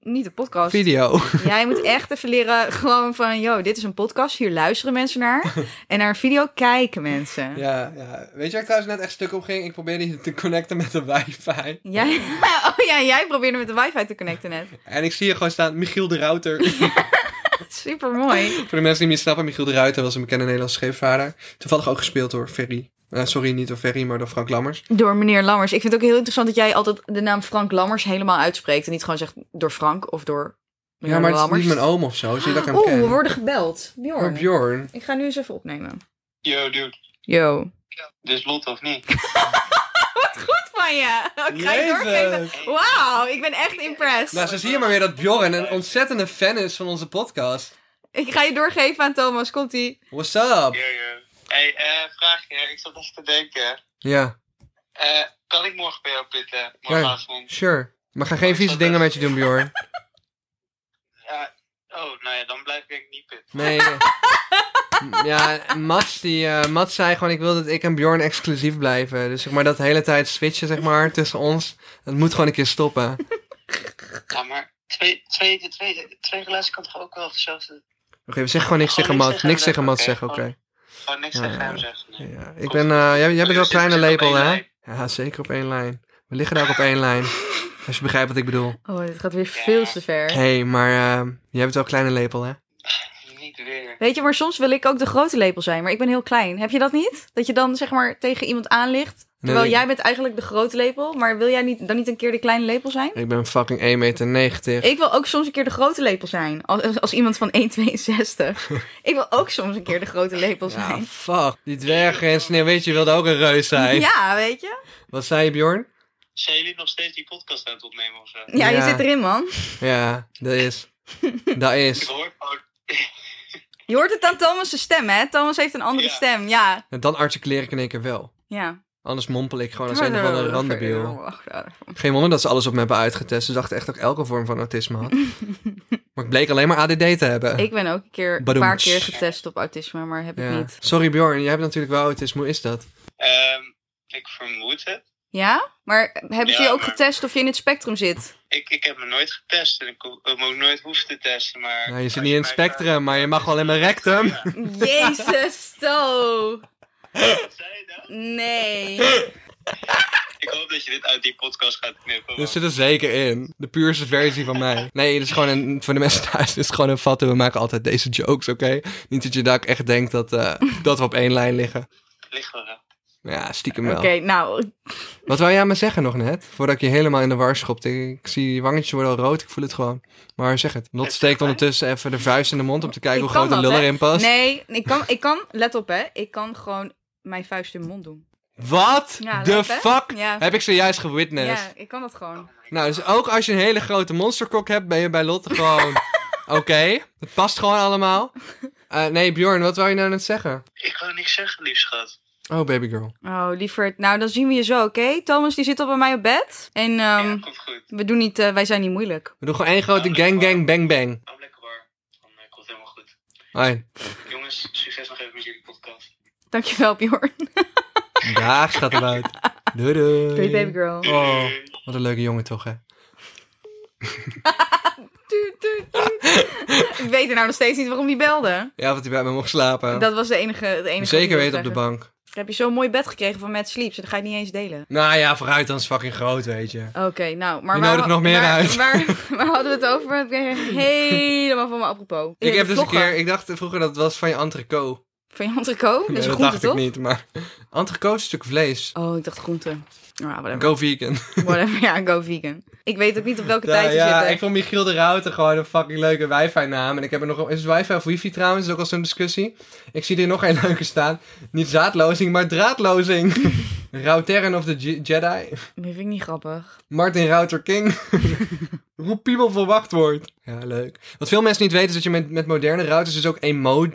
Speaker 2: Niet de podcast.
Speaker 1: Video.
Speaker 2: Jij moet echt even leren gewoon van, yo, dit is een podcast, hier luisteren mensen naar. En naar een video kijken mensen.
Speaker 1: Ja, ja. Weet je waar ik trouwens net echt stuk op ging? Ik probeerde je te connecten met de wifi.
Speaker 2: Jij, oh ja, jij probeerde met de wifi te connecten net.
Speaker 1: En ik zie hier gewoon staan, Michiel de Ruiter.
Speaker 2: Super mooi.
Speaker 1: Voor de mensen die niet snappen, Michiel de Ruiter was een bekende Nederlandse scheepvaarder. Toevallig ook gespeeld door Ferry. Eh, sorry, niet door Ferry, maar door Frank Lammers.
Speaker 2: Door meneer Lammers. Ik vind het ook heel interessant dat jij altijd de naam Frank Lammers helemaal uitspreekt. En niet gewoon zegt door Frank of door meneer
Speaker 1: Ja, maar het is
Speaker 2: Lammers.
Speaker 1: niet mijn oom of zo, dus niet dat ik hem
Speaker 2: Oeh,
Speaker 1: ken.
Speaker 2: we worden gebeld.
Speaker 1: Oh,
Speaker 2: Bjorn.
Speaker 1: Bjorn.
Speaker 2: Ik ga nu eens even opnemen.
Speaker 3: Yo, dude.
Speaker 2: Yo.
Speaker 3: Dit is Lot of niet?
Speaker 2: Goed van je. Ik ga je doorgeven.
Speaker 1: Jezus.
Speaker 2: Wauw, ik ben echt impressed.
Speaker 1: Nou, zo zie je maar weer dat Bjorn een ontzettende fan is van onze podcast.
Speaker 2: Ik ga je doorgeven aan Thomas. Komt-ie.
Speaker 1: What's up?
Speaker 3: Yo, yo. Hey, eh, vraagje. Ik zat even te denken.
Speaker 1: Ja,
Speaker 3: Eh, kan ik morgen bij jou pitten? Morgenavond?
Speaker 1: sure. Maar ga geen vieze dingen met je doen, Bjorn.
Speaker 3: Ja. Oh, nou ja, dan blijf ik denk ik niet pitten.
Speaker 1: Nee. nee. M- Ja, Mats, die, eh, Mats zei gewoon, ik wil dat ik en Bjorn exclusief blijven. Dus zeg maar dat hele tijd switchen zeg maar, tussen ons, dat moet gewoon een keer stoppen.
Speaker 3: Ja, maar twee, twee, twee, twee glazen kan toch ook wel hetzelfde...
Speaker 1: Oké, we zeggen gewoon niks
Speaker 3: Gewoon
Speaker 1: tegen
Speaker 3: niks
Speaker 1: Mats.
Speaker 3: tegen
Speaker 1: Niks
Speaker 3: hem
Speaker 1: tegen Mats
Speaker 3: zeggen,
Speaker 1: zeggen, oké.
Speaker 3: oké. Gewoon niks
Speaker 1: Ja,
Speaker 3: tegen
Speaker 1: ja.
Speaker 3: hem zeggen. nee.
Speaker 1: Ja, ik ben, eh, jij, jij bent wel een
Speaker 3: Jullie
Speaker 1: kleine
Speaker 3: zitten op
Speaker 1: lepel,
Speaker 3: één
Speaker 1: hè?
Speaker 3: lijn.
Speaker 1: Ja, zeker op één lijn. We liggen daar ook op één lijn. Als je begrijpt wat ik bedoel.
Speaker 2: Oh, dit gaat weer veel te ver.
Speaker 1: Hé, hey, maar eh, jij bent wel een kleine lepel, hè?
Speaker 3: Niet weer.
Speaker 2: Weet je, maar soms wil ik ook de grote lepel zijn, maar ik ben heel klein. Heb je dat niet? Dat je dan zeg maar tegen iemand aan ligt. Terwijl
Speaker 1: ik-
Speaker 2: jij bent eigenlijk de grote lepel, maar wil jij niet, dan niet een keer de kleine lepel zijn?
Speaker 1: Ik ben fucking 1,90 meter.
Speaker 2: Ik wil ook soms een keer de grote lepel zijn. Als, als iemand van 1,62. ik wil ook soms een keer de grote lepel
Speaker 1: Ja,
Speaker 2: zijn.
Speaker 1: fuck. Die dwergen en sneeuwwitje wilden ook een reus zijn.
Speaker 2: Ja, weet je?
Speaker 1: Wat zei je, Bjorn?
Speaker 3: Zijn jullie nog steeds die podcast aan het opnemen of zo?
Speaker 2: Ja,
Speaker 1: Ja.
Speaker 2: je zit erin, man.
Speaker 1: Ja, dat is. Dat
Speaker 3: Ik
Speaker 1: is.
Speaker 3: hoor gewoon...
Speaker 2: Je hoort het aan Thomas' stem, hè? Thomas heeft een andere
Speaker 3: Ja.
Speaker 2: stem. Ja,
Speaker 1: En dan articuleer ik in één keer wel.
Speaker 2: ja.
Speaker 1: Anders mompel ik gewoon als Oh, een
Speaker 2: nou,
Speaker 1: of andere randebiel.
Speaker 2: Ja.
Speaker 1: Geen wonder dat ze alles op me hebben uitgetest. Ze dachten echt dat ik elke vorm van autisme had. Maar ik bleek alleen maar ADD te hebben.
Speaker 2: Ik ben ook een keer een
Speaker 1: Badoems.
Speaker 2: paar keer getest op autisme, maar heb ik
Speaker 1: Eh. Ja.
Speaker 2: niet.
Speaker 1: Sorry Bjorn, jij hebt natuurlijk wel autisme. Hoe is dat?
Speaker 3: Ehm, ik vermoed het.
Speaker 2: Ja? Maar hebben ze
Speaker 3: Ja,
Speaker 2: je ook
Speaker 3: maar-
Speaker 2: getest of je in het spectrum zit?
Speaker 3: Ik, ik heb me nooit getest en ik ho- heb me ook nooit hoef te testen, maar...
Speaker 1: Nou, je zit
Speaker 3: als
Speaker 1: niet in het
Speaker 3: mij
Speaker 1: spectrum, maar je mag wel in mijn rectum.
Speaker 2: Jezus, zo.
Speaker 3: vraagt- Wat zei je nou?
Speaker 2: Nee.
Speaker 3: Ik hoop dat je dit uit die podcast gaat knippen.
Speaker 1: Er
Speaker 3: want-
Speaker 1: Dus zit er zeker in. De puurste versie van mij. Nee, het is gewoon een, voor de mensen thuis het is gewoon een vatten. We maken altijd deze jokes, oké? Niet dat je daar ook echt denkt dat, eh, dat we op één lijn liggen.
Speaker 3: Ligt wel, hè?
Speaker 1: Ja, stiekem wel.
Speaker 2: Oké, nou.
Speaker 1: Wat wou jij me zeggen nog net? Voordat ik je helemaal in de war schopte. Ik zie je wangetjes worden al rood, ik voel het gewoon. Maar zeg het. Lot steekt ondertussen even de vuist in de mond om te kijken
Speaker 2: Ik
Speaker 1: hoe groot
Speaker 2: kan
Speaker 1: de
Speaker 2: dat,
Speaker 1: lul
Speaker 2: hè?
Speaker 1: erin past.
Speaker 2: Nee, ik kan, ik kan, let op hè, ik kan gewoon mijn vuist in mijn mond doen.
Speaker 1: Wat
Speaker 2: Ja,
Speaker 1: de
Speaker 2: leuk, hè?
Speaker 1: fuck
Speaker 2: Ja.
Speaker 1: heb ik zojuist gewitnessed?
Speaker 2: Ja, ik kan dat gewoon.
Speaker 1: Nou, dus ook als je een hele grote monsterkok hebt, ben je bij Lotte gewoon... Oké, het past gewoon allemaal. Eh, nee, Bjorn, wat wou je nou net zeggen?
Speaker 3: Ik wou niks zeggen, lief schat.
Speaker 1: Oh, babygirl.
Speaker 2: Oh, lieverd. Nou, dan zien we je zo, oké? Thomas, die zit al bij mij op bed. En ehm,
Speaker 3: ja, komt goed.
Speaker 2: we doen niet, eh, wij zijn niet moeilijk.
Speaker 1: We doen gewoon één grote gang, gang, bang, bang.
Speaker 3: Hou lekker warm. Dan eh, komt het helemaal goed.
Speaker 1: Hoi.
Speaker 3: Jongens, succes nog even met jullie podcast.
Speaker 2: Dankjewel, Bjorn.
Speaker 1: Daar gaat het uit. Doei, doei.
Speaker 2: Doei, baby girl.
Speaker 1: Oh, wat een leuke jongen toch, hè?
Speaker 2: Tuut, tuut, tuut. ik weet er nou nog steeds niet waarom die belde.
Speaker 1: Ja, want hij bij me mocht slapen.
Speaker 2: Dat was de enige, het enige. wat ik
Speaker 1: Zeker
Speaker 2: wilde
Speaker 1: weten op de
Speaker 2: zeggen.
Speaker 1: bank.
Speaker 2: Heb je zo'n mooi bed gekregen van Matt Sleeps? Dat ga je niet eens delen.
Speaker 1: Nou ja, vooruit dan is fucking groot, weet je.
Speaker 2: Oké, nou, maar
Speaker 1: Je
Speaker 2: waar-
Speaker 1: nodigt nog meer
Speaker 2: waar-
Speaker 1: uit.
Speaker 2: Waar, waar hadden we het over? Ik ben helemaal van me apropos.
Speaker 1: Ik
Speaker 2: Ja,
Speaker 1: heb dus een
Speaker 2: vloggen.
Speaker 1: keer, ik dacht vroeger dat het was van je entreco.
Speaker 2: Van je entrecote? Dat
Speaker 1: Nee,
Speaker 2: is
Speaker 1: dat
Speaker 2: groente,
Speaker 1: dacht
Speaker 2: toch?
Speaker 1: ik niet, maar entrecote is een stuk vlees.
Speaker 2: Oh, ik dacht groente. Nou, whatever.
Speaker 1: Go vegan.
Speaker 2: whatever. Ja, go vegan. Ik weet ook niet op welke tijd
Speaker 1: Ja,
Speaker 2: we
Speaker 1: ja,
Speaker 2: zitten.
Speaker 1: ik vond Michiel de Ruiter gewoon een fucking leuke wifi-naam. En ik heb er nog een... Is het wifi of wifi trouwens? Dat is ook al zo'n discussie. Ik zie er nog een leuke staan. Niet zaadlozing, maar draadlozing. Routeren of the Je- Jedi.
Speaker 2: Dat vind ik niet grappig.
Speaker 1: Martin Router King. Roep piemel voor wachtwoord. Ja, leuk. Wat veel mensen niet weten is dat je met, met moderne routers dus ook emo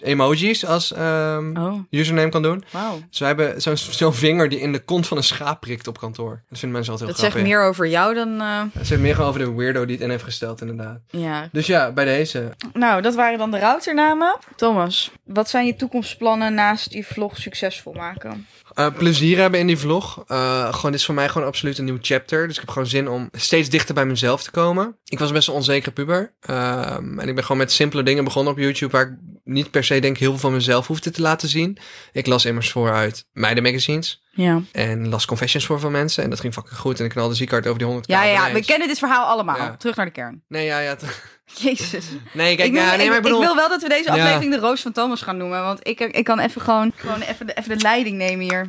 Speaker 1: emojis als ehm,
Speaker 2: Oh,
Speaker 1: username kan doen.
Speaker 2: wauw.
Speaker 1: Dus wij hebben zo'n zo'n vinger die in de kont van een schaap prikt op kantoor. Dat vinden mensen altijd
Speaker 2: Dat
Speaker 1: heel
Speaker 2: zegt
Speaker 1: grappig.
Speaker 2: meer over jou dan... eh,
Speaker 1: Dat zegt meer gewoon over de weirdo die het in heeft gesteld, inderdaad.
Speaker 2: ja.
Speaker 1: Dus ja, bij deze.
Speaker 2: Nou, dat waren dan de routernamen. Thomas, Wat zijn je toekomstplannen naast die vlog succesvol maken?
Speaker 1: Eh, plezier hebben in die vlog. Eh, gewoon, dit is voor mij gewoon absoluut een nieuw chapter. Dus ik heb gewoon zin om steeds dichter bij mezelf te komen. Ik was best een onzekere puber. Ehm, en ik ben gewoon met simpele dingen begonnen op YouTube... waar ik niet per se denk ik heel veel van mezelf hoefde te laten zien. Ik las immers vooruit meidenmagazines.
Speaker 2: Ja.
Speaker 1: En las confessions voor van mensen. En dat ging fucking goed. En ik knalde ziekhard over die 100
Speaker 2: Ja, ja, we kennen dit verhaal allemaal.
Speaker 1: Ja.
Speaker 2: Terug naar de kern.
Speaker 1: Nee, ja, ja. t-
Speaker 2: Jezus.
Speaker 1: Nee, kijk,
Speaker 2: ik,
Speaker 1: ja,
Speaker 2: noem-
Speaker 1: nee, maar
Speaker 2: ik-
Speaker 1: ik
Speaker 2: ik
Speaker 1: bedoel...
Speaker 2: wil wel dat we
Speaker 1: Ja.
Speaker 2: deze aflevering de Roos van Thomas gaan noemen. Want ik, ik kan even gewoon, gewoon even, de, even de leiding nemen hier.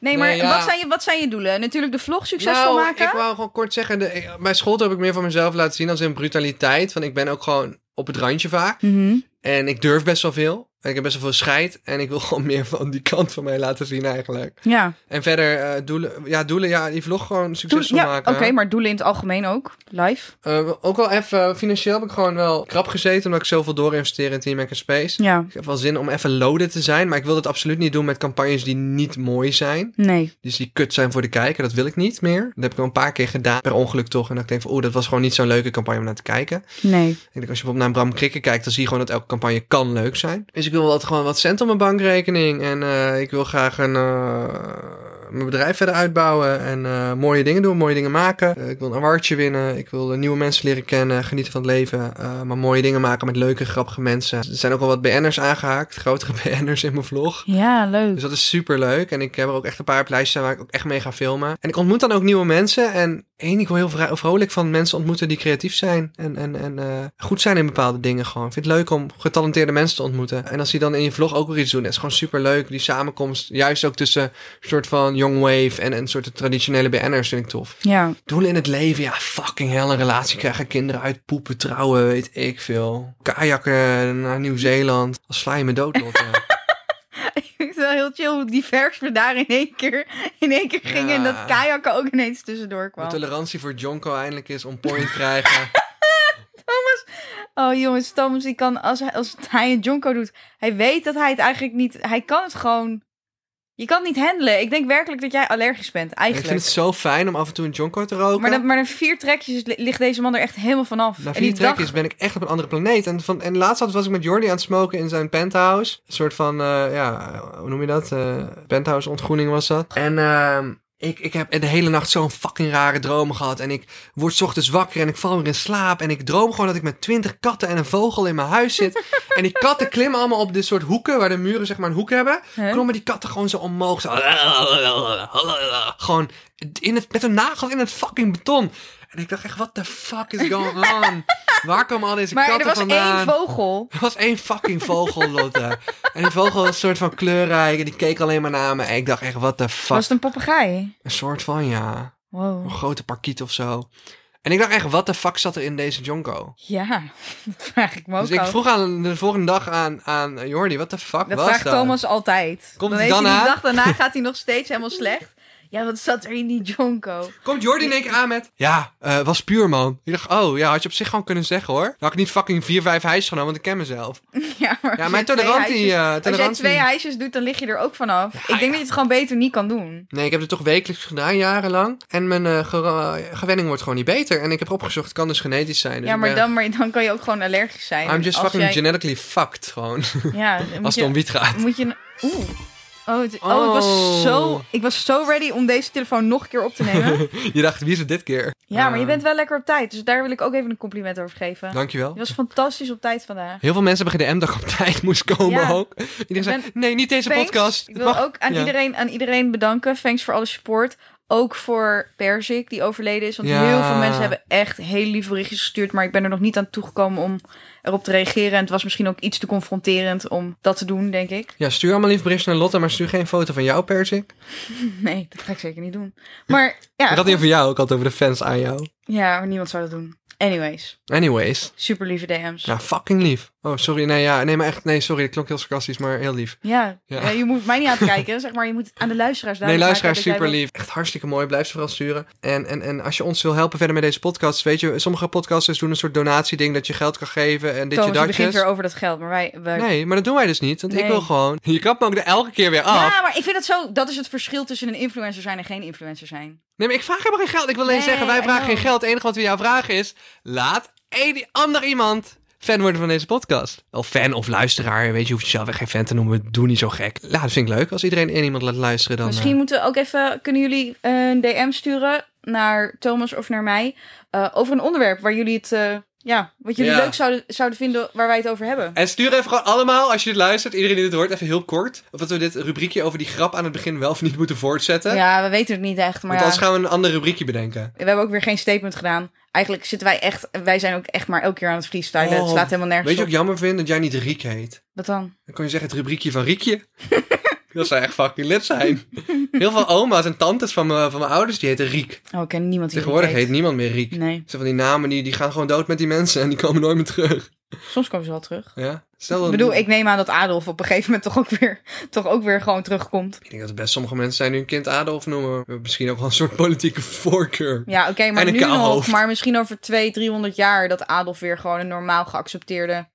Speaker 2: Nee, maar
Speaker 1: Nee, ja.
Speaker 2: wat, zijn je, wat zijn je doelen? Natuurlijk de vlog succesvol
Speaker 1: nou,
Speaker 2: maken.
Speaker 1: ik wou gewoon kort zeggen... De, ik- bij school heb ik meer van mezelf laten zien als in brutaliteit. Want ik ben ook gewoon op het randje vaak.
Speaker 2: Mhm.
Speaker 1: En ik durf best wel veel. En ik heb best wel veel scheid. En ik wil gewoon meer van die kant van mij laten zien eigenlijk.
Speaker 2: Ja,
Speaker 1: En verder eh, doelen. Ja, doelen. Ja, die vlog gewoon
Speaker 2: Doelen-
Speaker 1: succesvol
Speaker 2: ja oké,
Speaker 1: maken.
Speaker 2: maar doelen in het algemeen ook. Live.
Speaker 1: Eh, ook wel even... Financieel heb ik gewoon wel krap gezeten. Omdat ik zoveel doorinvesteer in Team Maker Space.
Speaker 2: Ja,
Speaker 1: Ik heb wel zin om even loaded te zijn. Maar ik wil dat absoluut niet doen met campagnes die niet mooi zijn.
Speaker 2: nee.
Speaker 1: Dus die kut zijn voor de kijker, dat wil ik niet meer. Dat heb ik al een paar keer gedaan, per ongeluk toch. En dat ik denk van, oeh, dat was gewoon niet zo'n leuke campagne om naar te kijken. Ik
Speaker 2: Nee.
Speaker 1: denk, als je bijvoorbeeld naar Bram Krikken kijkt, dan zie je gewoon dat elke campagne kan leuk zijn. Dus ik wil wat, gewoon wat cent op mijn bankrekening. En eh, ik wil graag een, eh, mijn bedrijf verder uitbouwen. En eh, mooie dingen doen, mooie dingen maken. Eh, ik wil een awardje winnen. Ik wil eh, nieuwe mensen leren kennen, genieten van het leven. eh, maar mooie dingen maken met leuke, grappige mensen. Er zijn ook al wat BN'ers aangehaakt, grotere BN'ers in mijn vlog.
Speaker 2: Ja, leuk.
Speaker 1: Dus dat is super leuk. En ik heb er ook echt een paar op lijstjes staan waar ik ook echt mee ga filmen. En ik ontmoet dan ook nieuwe mensen. En één, ik word heel vro- vrolijk van mensen ontmoeten die creatief zijn. En, en, en eh, goed zijn in bepaalde dingen gewoon. Ik vind het leuk om getalenteerde mensen te ontmoeten. En als die dan in je vlog ook weer iets doen. Dat is gewoon super leuk. Die samenkomst, juist ook tussen een soort van young wave en een soort traditionele BN'ers vind ik tof.
Speaker 2: Ja.
Speaker 1: Doelen in het leven, ja fucking hell. Een relatie krijgen, kinderen uit, poepen, trouwen, weet ik veel. Kajakken naar Nieuw-Zeeland. Dan sla je me dood, Lotte.
Speaker 2: Ik vind het wel heel chill hoe divers we daar in één keer, in één keer gingen. En
Speaker 1: Ja.
Speaker 2: dat kajakken ook ineens tussendoor
Speaker 1: De
Speaker 2: kwam.
Speaker 1: tolerantie voor Jonko eindelijk is on point krijgen.
Speaker 2: Oh jongens, Thomas die kan, als hij, als het hij een Jonko doet, hij weet dat hij het eigenlijk niet... Hij kan het gewoon... Je kan het niet handelen. Ik denk werkelijk dat jij allergisch bent,
Speaker 1: ik
Speaker 2: eigenlijk.
Speaker 1: vind het zo fijn om af en toe een Jonko te roken.
Speaker 2: Maar, dan, maar na vier trekjes li- ligt deze man er echt helemaal vanaf.
Speaker 1: Na
Speaker 2: en die
Speaker 1: Nou, vier trekjes
Speaker 2: dag-
Speaker 1: ben ik echt op een andere planeet. En, van, en laatst had- was ik met Jordi aan het smoken in zijn penthouse. Een soort van, eh, ja, hoe noem je dat? Eh, penthouse ontgroening was dat. En ehm, ik, ik heb de hele nacht zo'n fucking rare droom gehad. En ik word 's ochtends wakker en ik val weer in slaap. En ik droom gewoon dat ik met twintig katten en een vogel in mijn huis zit. en die katten klimmen allemaal op dit soort hoeken, waar de muren zeg maar een hoek hebben.
Speaker 2: Huh?
Speaker 1: Klommen die katten gewoon zo omhoog. Zo. Gewoon in het, met een nagel in het fucking beton. En ik dacht echt, what the fuck is going on? Waar komen al deze
Speaker 2: Maar er
Speaker 1: katten
Speaker 2: was
Speaker 1: vandaan?
Speaker 2: één vogel.
Speaker 1: er was één fucking vogel, Lotte. en die vogel was een soort van kleurrijk. En die keek alleen maar naar me. En ik dacht echt, what the fuck?
Speaker 2: Was het een papegaai?
Speaker 1: Een soort van, ja. Een
Speaker 2: Wow.
Speaker 1: grote parkiet of zo. En ik dacht echt, what the fuck zat er in deze jonko?
Speaker 2: Ja, dat vraag ik me ook
Speaker 1: Dus ik
Speaker 2: af.
Speaker 1: vroeg aan de volgende dag aan, aan Jordi, what the fuck
Speaker 2: Dat
Speaker 1: was
Speaker 2: vraagt
Speaker 1: dat?
Speaker 2: Thomas altijd.
Speaker 1: Komt het
Speaker 2: dan heeft
Speaker 1: dan
Speaker 2: hij die
Speaker 1: aan?
Speaker 2: dag daarna gaat hij nog steeds helemaal slecht. Ja, wat zat er in die Jonko?
Speaker 1: Komt Jordi in één keer aan met... Ja, eh, was puur, man. Ik dacht, oh, ja, had je op zich gewoon kunnen zeggen, hoor. Dan had ik niet fucking vier, vijf hijs genomen, want ik ken mezelf.
Speaker 2: Ja, maar als
Speaker 1: Ja,
Speaker 2: jij
Speaker 1: mijn
Speaker 2: twee
Speaker 1: tolerantie...
Speaker 2: hijsjes-
Speaker 1: eh,
Speaker 2: Als jij
Speaker 1: tolerantie-
Speaker 2: twee hijsjes doet, dan lig je er ook vanaf. ik denk dat je het gewoon beter niet kan doen.
Speaker 1: Nee, ik heb het toch wekelijks gedaan, jarenlang. En mijn eh, ge- eh, gewenning wordt gewoon niet beter. En ik heb opgezocht, het kan dus genetisch zijn. Dus
Speaker 2: ja,
Speaker 1: ik
Speaker 2: maar
Speaker 1: ben-
Speaker 2: dan, maar dan kan je ook gewoon allergisch zijn.
Speaker 1: I'm just
Speaker 2: Als
Speaker 1: fucking
Speaker 2: jij-
Speaker 1: genetically fucked, gewoon.
Speaker 2: Ja, dan moet
Speaker 1: Als het om
Speaker 2: je...
Speaker 1: wiet gaat.
Speaker 2: Moet je oeh. Oh, het- oh, Ik, was
Speaker 1: Oh.
Speaker 2: zo, ik was zo ready om deze telefoon nog een keer op te nemen.
Speaker 1: Je dacht, wie is het dit keer?
Speaker 2: Ja, maar je
Speaker 1: Eh,
Speaker 2: bent wel lekker op tijd. Dus daar wil ik ook even een compliment over geven.
Speaker 1: Dankjewel.
Speaker 2: Je was fantastisch op tijd vandaag.
Speaker 1: Heel veel mensen hebben gedm'd dat ik op tijd moest komen
Speaker 2: Ja.
Speaker 1: ook. Iedereen zei,
Speaker 2: ben-
Speaker 1: nee, niet deze
Speaker 2: Thanks.
Speaker 1: podcast.
Speaker 2: Ik
Speaker 1: Het
Speaker 2: wil
Speaker 1: mag-
Speaker 2: ook aan,
Speaker 1: Ja.
Speaker 2: iedereen, aan iedereen bedanken. Thanks voor alle support. Ook voor Perzik, die overleden is. Want
Speaker 1: Ja.
Speaker 2: heel veel mensen hebben echt heel lieve berichtjes gestuurd. Maar ik ben er nog niet aan toegekomen om erop te reageren. En het was misschien ook iets te confronterend om dat te doen, denk ik.
Speaker 1: Ja, stuur allemaal lief berichtjes naar Lotte, maar stuur geen foto van jou, Persik.
Speaker 2: Nee, dat ga ik zeker niet doen. Maar ja,
Speaker 1: ik had niet over jou, ik had over de fans aan jou.
Speaker 2: ja maar niemand zou dat doen. Anyways,
Speaker 1: Anyways.
Speaker 2: super lieve DM's. Ja.
Speaker 1: Ja, fucking lief. Oh, sorry. Nee, ja, nee, maar echt, nee, sorry. Dat klonk heel sarcastisch, maar heel lief.
Speaker 2: Ja.
Speaker 1: Ja.
Speaker 2: je hoeft mij niet aan te kijken, zeg maar. Je moet aan de luisteraars
Speaker 1: Nee,
Speaker 2: duidelijk
Speaker 1: luisteraar,
Speaker 2: maken dat
Speaker 1: super
Speaker 2: jij
Speaker 1: lief. Echt hartstikke mooi. Blijf ze vooral sturen. En, en, en als je ons wil helpen verder met deze podcast, weet je, sommige podcasters doen een soort donatieding dat je geld kan geven en
Speaker 2: wel-
Speaker 1: ditje
Speaker 2: Thomas, je begint weer
Speaker 1: datjes.
Speaker 2: over dat geld, maar wij... wij...
Speaker 1: Nee, maar dat doen wij dus niet. Want ik
Speaker 2: Nee.
Speaker 1: wil gewoon. Je kapt me ook er elke keer weer af.
Speaker 2: Ja, maar ik vind dat zo... Dat is het verschil tussen een influencer zijn en geen influencer zijn.
Speaker 1: Nee, maar ik vraag helemaal geen geld. Ik wil alleen
Speaker 2: Nee,
Speaker 1: zeggen, wij
Speaker 2: I
Speaker 1: vragen geen
Speaker 2: know.
Speaker 1: geld. Het enige wat we jou vragen is: laat een ander iemand fan worden van deze podcast. Wel fan of luisteraar, weet je, je hoeft jezelf echt geen fan te noemen. Doe niet zo gek. Ja, dat vind ik leuk. Als iedereen één iemand laat luisteren, dan...
Speaker 2: Misschien
Speaker 1: eh,
Speaker 2: moeten we ook even. Kunnen jullie een DM sturen naar Thomas of naar mij? eh, over een onderwerp waar jullie het. eh, ja, wat jullie
Speaker 1: Ja.
Speaker 2: leuk zouden, zouden vinden waar wij het over hebben.
Speaker 1: En stuur even gewoon allemaal, als je dit luistert, iedereen die dit hoort, even heel kort. Of dat we dit rubriekje over die grap aan het begin wel of niet moeten voortzetten.
Speaker 2: Ja, we weten het niet echt. Maar
Speaker 1: Want
Speaker 2: ja,
Speaker 1: anders gaan we een ander rubriekje bedenken.
Speaker 2: we hebben ook weer geen statement gedaan. Eigenlijk zitten wij echt. Wij zijn ook echt maar elke keer aan het freestylen.
Speaker 1: Oh,
Speaker 2: het slaat helemaal nergens
Speaker 1: Weet je
Speaker 2: op.
Speaker 1: wat ik jammer vind? Dat jij niet Riek heet.
Speaker 2: Wat dan?
Speaker 1: Dan kon je zeggen het rubriekje van Riekje. dat zou echt fucking lid zijn. Heel veel oma's en tantes van mijn, van mijn ouders, die heten Riek.
Speaker 2: Oh, ik ken niemand die dit
Speaker 1: Tegenwoordig heet niemand meer Riek.
Speaker 2: Nee,
Speaker 1: Zo van die namen, die, die gaan gewoon dood met die mensen en die komen nooit meer terug.
Speaker 2: soms komen ze wel terug.
Speaker 1: Ja? Stel
Speaker 2: Ik
Speaker 1: dat,
Speaker 2: bedoel, ik neem aan dat Adolf op een gegeven moment toch ook weer, toch ook weer gewoon terugkomt.
Speaker 1: Ik denk dat er best sommige mensen zijn die hun kind Adolf noemen. We hebben Misschien ook wel een soort politieke voorkeur.
Speaker 2: Ja, oké, maar
Speaker 1: En een
Speaker 2: nu
Speaker 1: kaal
Speaker 2: nog.
Speaker 1: hoofd.
Speaker 2: Maar misschien over 200, 300 jaar dat Adolf weer gewoon een normaal geaccepteerde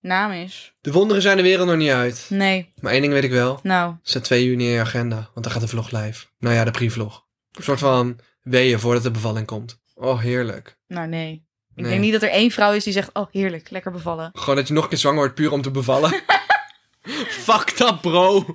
Speaker 2: naam is.
Speaker 1: De wonderen zijn de wereld nog niet uit.
Speaker 2: Nee,
Speaker 1: Maar één ding weet ik wel.
Speaker 2: nou.
Speaker 1: Zet 2 juni in je agenda, want dan gaat de vlog live. Nou ja, de pre-vlog. Een soort van weeën voordat de bevalling komt. Oh, heerlijk.
Speaker 2: Nou, nee. Ik
Speaker 1: Nee.
Speaker 2: denk niet dat er één vrouw is die zegt, oh, heerlijk, lekker bevallen.
Speaker 1: Gewoon dat je nog een keer zwanger wordt puur om te bevallen. Fuck dat, bro.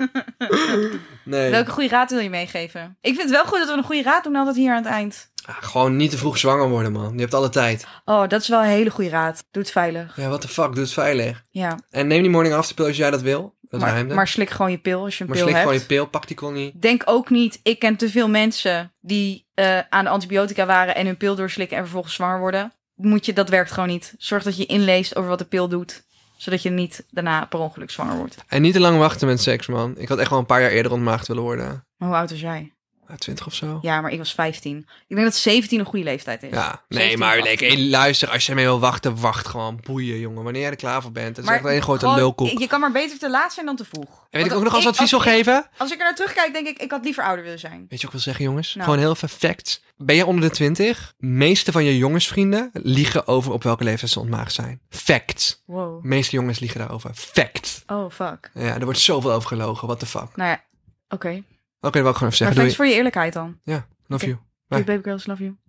Speaker 1: nee.
Speaker 2: Welke goede raad wil je meegeven? Ik vind het wel goed dat we een goede raad doen altijd hier aan het eind.
Speaker 1: Ah, gewoon niet te vroeg zwanger worden, man. Je hebt alle tijd.
Speaker 2: Oh, dat is wel een hele goede raad. Doe het veilig.
Speaker 1: Ja, what the fuck, doe het veilig.
Speaker 2: Ja,
Speaker 1: En neem die morning after pill als jij dat wil. Dat
Speaker 2: maar,
Speaker 1: ruimte.
Speaker 2: maar slik gewoon je pil als je een
Speaker 1: maar
Speaker 2: pil
Speaker 1: slik
Speaker 2: hebt.
Speaker 1: gewoon je pil, pak die connie.
Speaker 2: Denk ook niet, ik ken te veel mensen die eh, aan de antibiotica waren en hun pil doorslikken en vervolgens zwanger worden. Moet je, dat werkt gewoon niet. Zorg dat je inleest over wat de pil doet, zodat je niet daarna per ongeluk zwanger wordt.
Speaker 1: En niet te lang wachten met seks, man. Ik had echt wel een paar jaar eerder ontmaagd willen worden.
Speaker 2: Maar hoe oud was jij?
Speaker 1: Ah, 20 of zo.
Speaker 2: Ja, maar ik was 15. Ik denk dat 17 een goede leeftijd is.
Speaker 1: Ja,
Speaker 2: 17
Speaker 1: nee, maar
Speaker 2: of
Speaker 1: nee,
Speaker 2: 18.
Speaker 1: hey, luister, als je ermee wil wachten, wacht gewoon. Boeien, jongen. Wanneer jij er klaar voor bent. Dat is
Speaker 2: Maar
Speaker 1: echt één grote
Speaker 2: gewoon,
Speaker 1: lulkoek. En
Speaker 2: Je kan maar beter te laat zijn dan te vroeg.
Speaker 1: weet ik
Speaker 2: Want
Speaker 1: ook nog als advies wil
Speaker 2: ik- oh,
Speaker 1: geven?
Speaker 2: Als ik er naar terugkijk, denk ik, ik had liever ouder willen zijn.
Speaker 1: Weet je wat ik wil zeggen, jongens?
Speaker 2: Nou.
Speaker 1: Gewoon heel even facts. Ben jij onder de 20? Meeste van je jongensvrienden liegen over op welke leeftijd ze ontmaagd zijn. Facts.
Speaker 2: Wow.
Speaker 1: Meeste jongens liegen daarover. Fact.
Speaker 2: Oh, fuck.
Speaker 1: Ja, er wordt zoveel over gelogen. What the fuck. Oké,
Speaker 2: Nou ja, oké.
Speaker 1: dat wil ik gewoon even
Speaker 2: Maar
Speaker 1: zeggen.
Speaker 2: thanks
Speaker 1: Doei.
Speaker 2: voor je eerlijkheid dan.
Speaker 1: Ja, love
Speaker 2: Oké.
Speaker 1: you.
Speaker 2: Doei, baby girls, love you.